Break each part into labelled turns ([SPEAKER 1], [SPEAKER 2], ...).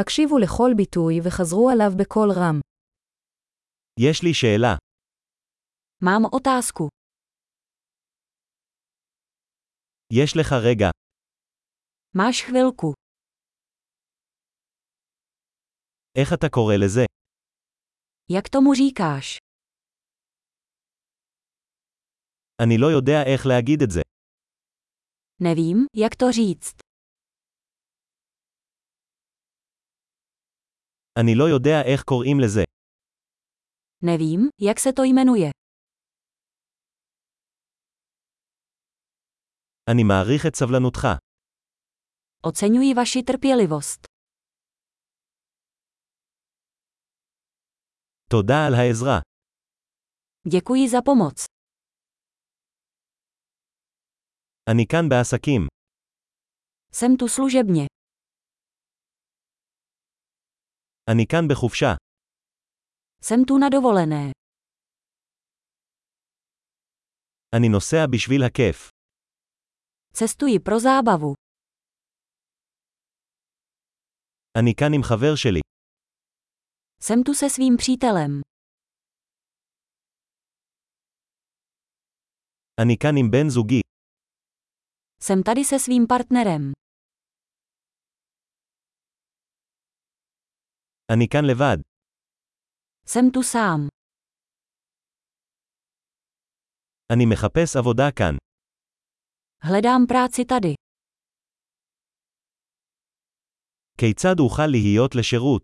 [SPEAKER 1] הקשיבו לכל ביטוי וחזרו עליו בקול רם.
[SPEAKER 2] יש לי שאלה.
[SPEAKER 3] Mám otázku.
[SPEAKER 2] יש לך רגע.
[SPEAKER 3] Máš chvilku.
[SPEAKER 2] איך אתה קורא לזה?
[SPEAKER 3] Jak tomu říkáš?
[SPEAKER 2] אני לא יודע איך להגיד את זה.
[SPEAKER 3] Nevím, jak to říct.
[SPEAKER 2] אני לא יודע איך קוראים לזה.
[SPEAKER 3] Nevím, jak se to jmenuje.
[SPEAKER 2] אני מעריך את סבלנותך.
[SPEAKER 3] Oceňuji vaši trpělivost.
[SPEAKER 2] תודה על העזרה.
[SPEAKER 3] Děkuji za pomoc.
[SPEAKER 2] אני כאן בעסקים.
[SPEAKER 3] Jsem tu služebně.
[SPEAKER 2] אני כאן בחופשה.
[SPEAKER 3] Jsem tu na dovolené.
[SPEAKER 2] אני נוסע בשביל הכיף.
[SPEAKER 3] Cestuji pro zábavu.
[SPEAKER 2] אני כאן עם חבר שלי.
[SPEAKER 3] Jsem tu se svým přítelem.
[SPEAKER 2] אני כאן עם בן זוגי.
[SPEAKER 3] Jsem tady se svým partnerem.
[SPEAKER 2] אני כאן לבד.
[SPEAKER 3] Jsem tu sám.
[SPEAKER 2] אני מחפש עבודה כאן.
[SPEAKER 3] Hledám práci tady.
[SPEAKER 2] כיצד אוכל להיות לשירות?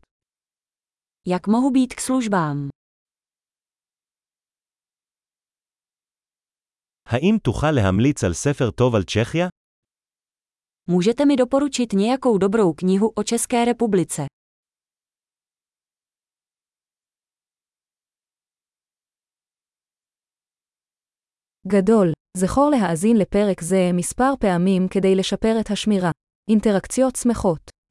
[SPEAKER 3] Jak mohu být k službám?
[SPEAKER 2] האם תוכל להמליץ על ספר טוב על צ'כיה?
[SPEAKER 3] Můžete mi doporučit nějakou dobrou knihu o České republice?
[SPEAKER 1] גדול, זכור להאזין לפרק זה מספר פעמים כדי לשפר את השמירה. אינטראקציות שמחות